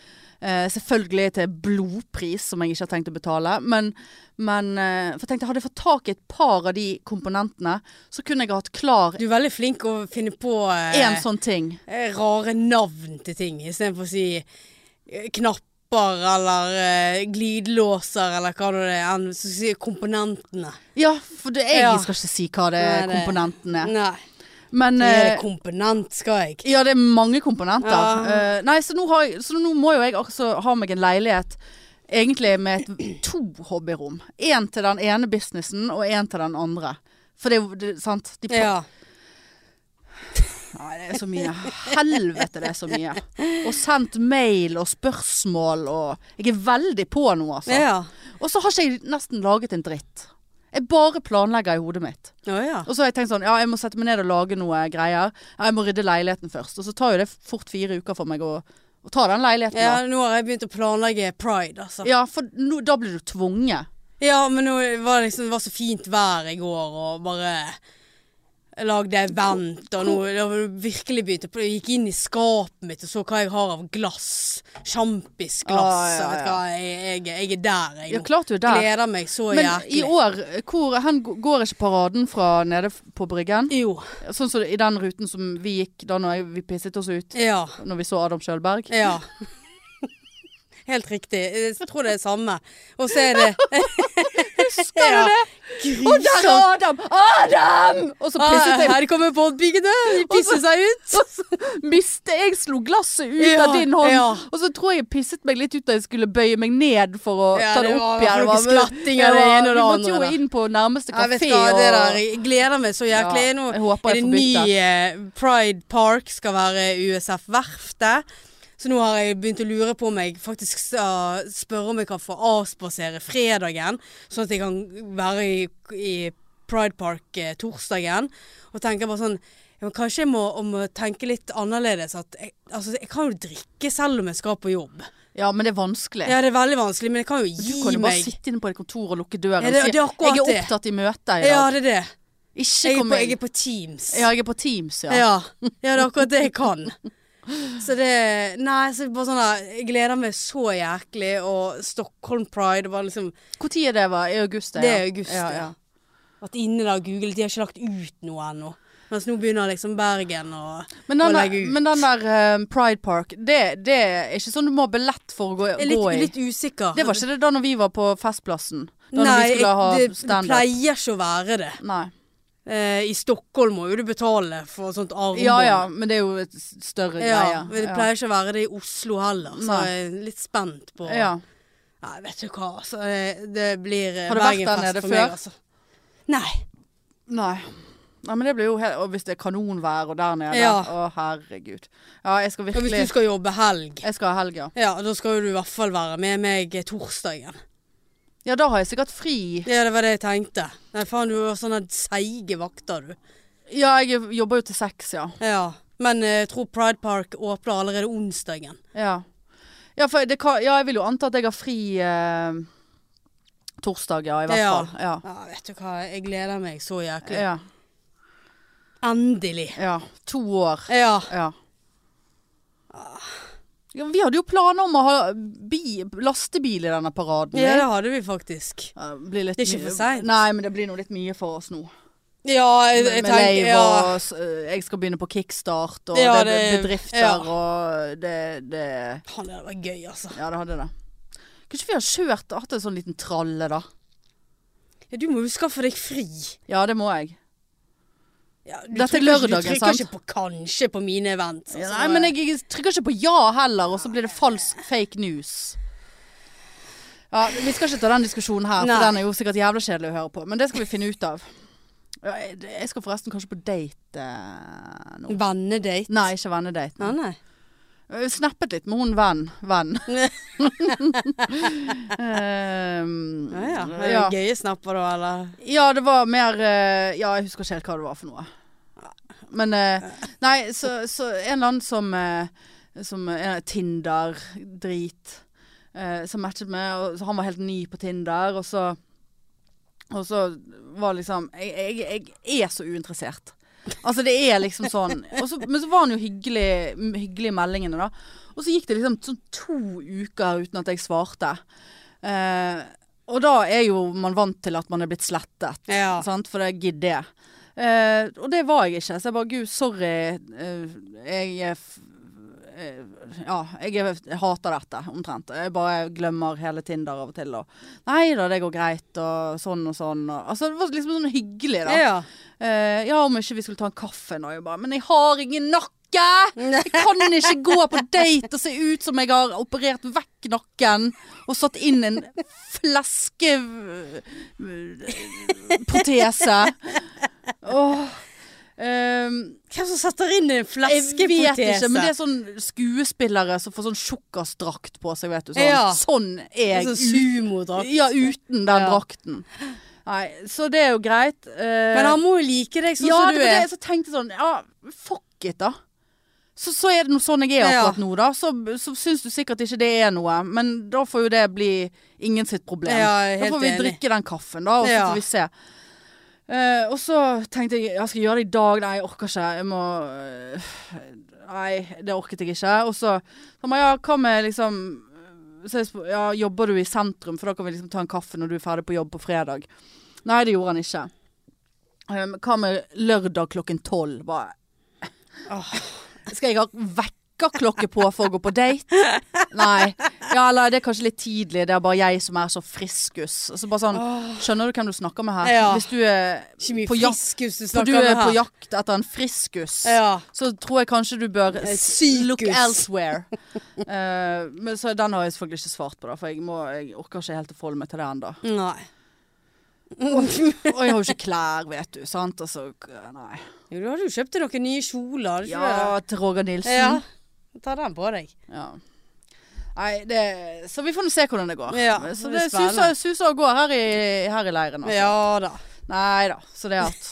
Eh, selvfølgelig til blodpris, som jeg ikke har tenkt å betale. Men, men eh, for jeg tenkte, hadde jeg fått tak i et par av de komponentene, så kunne jeg hatt klar
Du er veldig flink å finne på eh,
én sånn ting.
eh, rare navn til ting, istedenfor å si eh, knapper eller eh, glidelåser eller hva nå det er. enn Så sier komponentene.
Ja, for det, jeg
Ja.
skal ikke si hva det
Nei, det-
komponenten er.
Nei.
Men
Er det
eh,
komponent, skal jeg?
Ja, det er mange komponenter.
Ja.
Eh, nei, så nå, har jeg, så nå må jo jeg også ha meg en leilighet egentlig med et, to hobbyrom. Én til den ene businessen, og én til den andre. For det er jo det- sant De,
Ja.
Nei, det er så mye. Helvete, det er så mye. Og sendt mail og spørsmål og Jeg er veldig på nå, altså.
Ja.
Og så har ikke jeg nesten laget en dritt. Jeg bare planlegger i hodet mitt.
Å ja.
Og så har jeg tenkt sånn, ja jeg må sette meg ned og lage noe greier. Ja, jeg må rydde leiligheten først. Og så tar jo det fort fire uker for meg å, å ta den leiligheten.
ja.
da.
Nå har jeg begynt å planlegge pride, altså.
ja for nå, da blir du tvunget.
Ja, men nå var det liksom, det var så fint vær i går, og bare lagde event, og nå det var virkelig begynte på Jeg gikk inn i skapet mitt og så hva jeg har av glass. Sjampisglass.
Ah, ja,
og vet du
ja.
hva, jeg, jeg, jeg er der, jeg
Ja,
nå.
klart du er der.
Gleder meg så
Men
jæklig.
i år, hvor, hen g- går ikke paraden fra nede f- på bryggen?
Jo.
Sånn som i den ruten som vi gikk da når jeg, vi pisset oss ut.
Ja.
Når vi så Adam Kjølberg.
Ja. Helt riktig. Jeg tror det er samme. Og så er det Husker du det?
Og der er Adam! Adam! Og så pisset jeg.
Ah, Her kommer båtbyggene. De pisser seg ut.
Og så mistet jeg slo glasset ut
Ja,
av din hånd.
ja.
Og så tror jeg jeg pisset meg litt ut da jeg skulle bøye meg ned for å
Ja,
ta
det
det
var-
opp
det var
igjen.
noe skvatting av det ene og det
vi
andre
måtte jo
der.
inn på nærmeste
Jeg vet
kafé.
hva, det der,
og,
jeg gleder meg så jæklig.
Ja,
Nå
jeg håper
er
jeg
det
får
ny
bytte.
eh, Pride Park, skal være USF Verftet. Så nå har jeg begynt å lure på om jeg faktisk skal spørre om jeg kan få avspasere fredagen, sånn at jeg kan være i, i Pride Park eh, torsdagen. Og tenker bare sånn ja, men Kanskje jeg må, om å tenke litt annerledes. At jeg, altså, jeg kan jo drikke selv om jeg skal på jobb.
ja, men det er vanskelig.
Ja, det er veldig vanskelig, men jeg kan jo
du
gi
kan jo bare
meg.
sitte inne på et kontor og lukke døren
Ja, det-
og si
det er akkurat
'jeg er
det.
opptatt i møte i dag'.
Ja, det er det.
Ikke
Jeg er
kom
på, jeg
inn.
er på Teams.
Ja, jeg er på Teams, ja.
Ja. ja, det er akkurat det jeg kan. Så det Nei, så bare sånn der, jeg gleder meg så jæklig, og Stockholm Pride var liksom
Hvor tid er det? Var? I august?
Det er august,
ja.
ja.
ja.
At inne der googlet, de har ikke lagt ut noe ennå. Mens nå begynner liksom Bergen og
Men
Å
den
legge
der,
ut.
men den der eh, Pride Park, det, det er ikke sånn du må ha billett for å gå,
Jeg er litt,
gå i.
litt usikker.
Det var ikke det da når vi var på Festplassen. Da
Nei,
når vi skulle ha
jeg, det, det
standup.
pleier ikke å være det.
Nei.
Eh, I Stockholm må jo du betale for sånt armbånd.
Ja ja, men det er jo et s- større
Ja, men
greie.
det pleier ikke å være det i Oslo heller, så
Nei.
jeg er litt spent på
ja.
Nei, vet du hva, altså. Det, det blir eh,
Har du vært der
Bergenfest
nede
for
før?
meg, altså. Nei.
Nei. Nei, men det blir jo helt Og hvis det er kanonvær og der nede.
Ja.
Å, herregud. Ja, jeg skal
Og hvis du
virkelig
skal jobbe helg,
Jeg skal ha helg, ja.
ja, da skal jo du i hvert fall være med meg eh, torsdagen.
Ja, da har jeg sikkert fri.
Ja, det var det jeg tenkte. Nei, faen, du har sånne seige vakter, du.
Ja, jeg jobber jo til seks, ja.
Ja. Men eh, jeg tror Pride Park åpner allerede onsdagen.
Ja, ja for det kan Ja, jeg vil jo anta at jeg har fri eh, Torsdag, ja. I hvert
Ja.
fall. Ja.
Ja, vet du hva, jeg gleder meg så jæklig.
Ja.
Endelig.
ja. To år.
Ja.
Ja. ja. Vi hadde jo planer om å ha bi lastebil i denne paraden.
ja,
vi.
det hadde vi faktisk.
Ja, det blir litt
Det er ikke
mye-
for sent.
Nei, men det blir nå litt mye for oss nå.
Ja, jeg,
Med,
jeg
med
tenker
Leiv
ja.
og s- øh, Jeg skal begynne på kickstart, og
Ja,
det er be-
det-
bedrifter
ja.
og det, det
Faen, det hadde vært gøy, altså.
Ja, det hadde det. Kanskje vi har kjørt hatt en sånn liten tralle, da.
Ja, du må jo skaffe deg fri.
Ja, det må jeg.
Ja, du
Dette er
trykker-
lørdagen,
Du trykker
sant?
ikke på kanskje på mine event. altså.
Nei, men jeg trykker ikke på ja heller, og så blir det falsk fake news. Ja, Vi skal ikke ta den diskusjonen her,
Nei.
for den er jo sikkert jævla kjedelig å høre på. Men det skal vi finne ut av. Ja, Jeg jeg skal forresten kanskje på date eh, nå.
Vennedate?
Nei, ikke vennedate.
Nei, nei.
Jeg snappet litt med hun venn. Venn. Ehm,
Ja, ja. Er det
ja.
Gøye snapper da, eller?
ja, det var mer eh, Ja, jeg husker ikke helt hva det var for noe. Men eh, Nei, så, så en eller annen som, eh, som eh, Tinder-drit eh, som matchet med, og så han var helt ny på Tinder, og så og så var liksom Jeg, jeg, jeg er så uinteressert. Altså det er liksom sånn og så, Men så var han jo hyggelig, m- hyggelig i meldingene, da. Og så gikk det liksom sånn to uker uten at jeg svarte. Eh, og da er jo man vant til at man er blitt slettet,
Ja.
sant? for det gidder jeg. Eh, og det var jeg ikke, så jeg bare gud, sorry. eh, jeg er f eh, ja, jeg, er, jeg hater dette omtrent. Jeg bare glemmer hele Tinder av og til. Og, nei da, det går greit, og sånn og sånn. Og, altså, det var liksom sånn hyggelig, da.
Ja.
Eh, ja, om ikke vi skulle ta en kaffe nå. Jeg bare, men jeg har ingen nakke! Jeg kan ikke gå på date og se ut som jeg har operert vekk nakken og satt inn en fleskeprotese. Åh. Ehm,
Hvem som setter inn en
jeg vet ikke,
fleskepotese?
men det er sånn skuespillere som får sånn tjukkastrakt på seg, vet du. Sånn,
Ja.
sånn er jeg.
sånn sumodrakt.
ja, uten den
Ja.
drakten. Nei, så det er jo greit. Eh,
Men han må jo like deg sånn
ja,
som
det
du
var det
er.
jeg så tenkte sånn Ja, fuck it, da. Så, så er det noe sånn jeg er
Ja.
akkurat nå, da. Så, så syns du sikkert ikke det er noe, men da får jo det bli ingen sitt problem.
Ja, jeg er
da
helt
får vi
enig.
drikke den kaffen, da, og så
Ja.
får vi se. Eh, og så tenkte jeg jeg skal gjøre det i dag. Nei, jeg orker ikke. Jeg må øh, Nei, det orket jeg ikke. Og så sa man ja, hva med liksom så jeg spør, ja, Jobber du i sentrum, for da kan vi liksom ta en kaffe når du er ferdig på jobb på fredag. Nei, det gjorde han ikke. Um, hva med lørdag klokken tolv? Bare Skal jeg ha vekkerklokke på for å gå på date? Nei. Ja, eller det er kanskje litt tidlig. Det er bare jeg som er så friskus. Altså bare sånn, Skjønner du hvem du snakker med her?
Ja.
Hvis du er,
Ikke mye
på, jak
friskus du
for du
snakker
er
med
på
her.
jakt etter en friskus,
Ja. Eh,
så tror jeg kanskje du bør s-
sykus.
look elsewhere. Eh, men så den har jeg selvfølgelig ikke svart på, da, for jeg, må, jeg orker ikke helt å forholde meg til det ennå.
Nei.
Og jeg har jo ikke klær, vet du. Sant? Altså, k- nei.
Jo, du hadde jo kjøpt deg noen nye kjoler. hadde ikke
Ja, til Roger
du
Nilsen.
det? ja. Ta den på deg.
Ja. Nei, det, så vi får nå se hvordan det går.
Ja,
så
det blir
det suser,
spennende.
suser og går her i, her i leiren. Altså.
Ja da.
Nei da, så det er at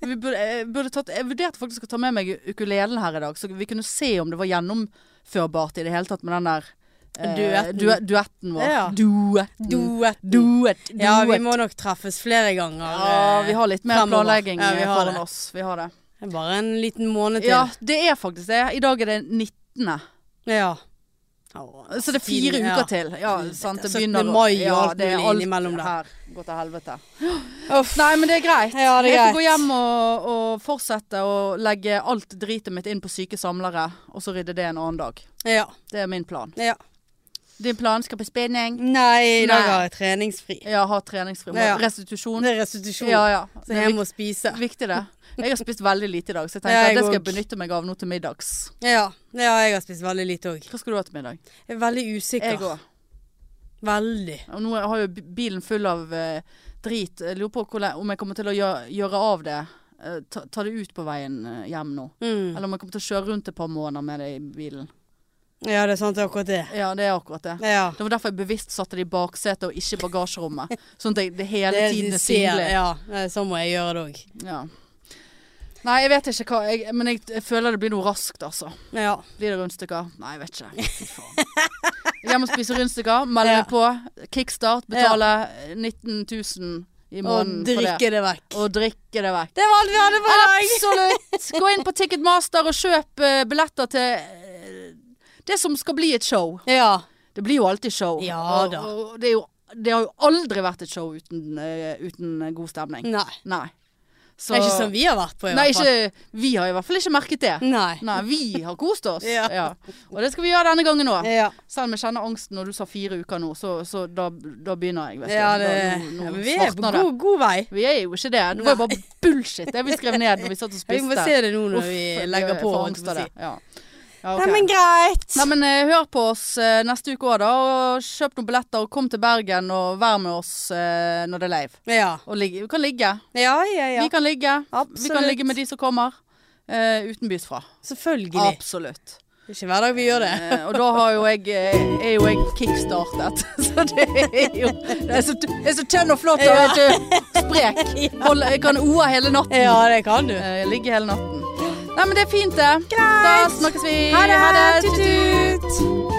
Men vi burde, jeg, burde tatt, jeg vurderte faktisk å ta med meg ukulelen her i dag, så vi kunne se om det var gjennomførbart i det hele tatt med den der eh,
Duetten.
due, duetten vår.
Ja.
Duetten.
Duett.
Duett. Duett.
Ja, vi må nok treffes flere ganger.
Ja, vi har litt mer
Fremover.
planlegging eh,
Ja, vi har
foran
det.
oss. Vi har det.
Det er Bare en liten måned til.
Ja, det er faktisk det. I dag er det 19.
Ja. Å,
Så det er fire
tiden, ja.
uker til. Ja, sant. Det
17.
begynner å-
mai og
ja,
alt
det er
mulig innimellom der.
Her går til helvete. Nei, men det er greit.
Ja, det er
Jeg
greit.
får gå hjem og, og fortsette å legge alt dritet mitt inn på syke samlere, og så rydde det en annen dag.
Ja.
Det er min plan.
ja.
Din plan skal på spinning.
Nei, i dag
Nei.
har jeg treningsfri.
Ja, ha treningsfri.
Ja.
Restitusjon.
Det er restitusjon.
Ja, ja.
Så
Det er
jeg
viktig,
må spise.
viktig det. Jeg har spist veldig lite i dag, så jeg
Ja,
tenkte
jeg
at det skal jeg
går.
benytte meg av nå til middags.
Ja. ja, jeg har spist veldig lite òg.
Hva skal du ha til middag?
Jeg er veldig
Jeg
usikker.
òg.
Veldig.
Og nå har jo bi- bilen full av eh, drit. Jeg lurer på hvordan, om jeg kommer til å gjøre, gjøre av det. eh, ta, ta det ut på veien eh, hjem nå.
Mm.
Eller om jeg kommer til å kjøre rundt et par måneder med det i bilen.
Ja, det er sant, det er akkurat det.
Ja, det er akkurat det.
Ja.
Det var derfor jeg bevisst satte det i baksetet og ikke i bagasjerommet. Sånn at jeg, det hele
Det er- de
tiden
eh,
er
ser-
synlig.
Ja, Nei, sånn må jeg gjøre det òg.
Ja. Nei, jeg vet ikke hva jeg, Men jeg, jeg føler det blir noe raskt, altså.
Ja.
Blir det rundstykker? Nei, jeg vet ikke. Fy faen. Hjem og spise rundstykker, melde
Ja.
meg på. Kickstart, betale 19 000 i
Og
måneden for det.
drikke det vekk.
Og drikke det vekk.
Det var alt vi hadde for i dag.
Absolutt! Gå inn på Ticketmaster og kjøp eh, billetter til eh, det som skal bli et show.
Ja.
Det blir jo alltid show.
Ja
og,
da.
og det, er jo, det har jo aldri vært et show uten, eh, uten eh, god stemning.
Nei.
Nei. Så-
Det er ikke sånn vi har vært på, i
Nei,
hvert fall.
ikke, vi har i hvert fall ikke merket det.
Nei.
Nei, vi har kost oss.
Ja.
Og det skal vi gjøre denne gangen òg.
Ja.
Selv om jeg kjenner angsten når du sa fire uker nå, så, så da, da begynner jeg. Vet du.
ja, det
da, nå,
ja,
nå
men Vi er på
svartner det.
god, god vei.
Vi er jo ikke det. Det var jo bare bullshit det vi skrev ned når vi satt og
Vi
spiste.
må se det nå når
Uff,
vi
jeg
legger på.
får
holdt
angst
jeg på
av
å si.
det. Ja. Ja, ok.
Nei, men greit.
Nei, men eh, hør på oss eh, neste uke òg, da. Og kjøp noen billetter, og kom til Bergen og vær med oss eh, når det er live.
Ja.
Og ligge. Vi kan ligge.
Ja, ja, ja.
Vi kan ligge. Vi
Absolutt.
kan ligge med de som kommer. eh, utenbys fra.
Selvfølgelig.
Absolutt.
Det er ikke hver dag vi gjør det.
Eh, og da har jo jeg, eh, er jo jeg kickstartet. Så det er jo Det er så, det er så tønn og flott og
Ja.
ikke sprek. Hold, jeg kan oa hele natten.
Ja, det kan du.
Eh, ligge hele natten. Nei, men det er fint, det. Da snakkes vi.
Ha det.
Ha det. Tut, tut.
Tut-tut.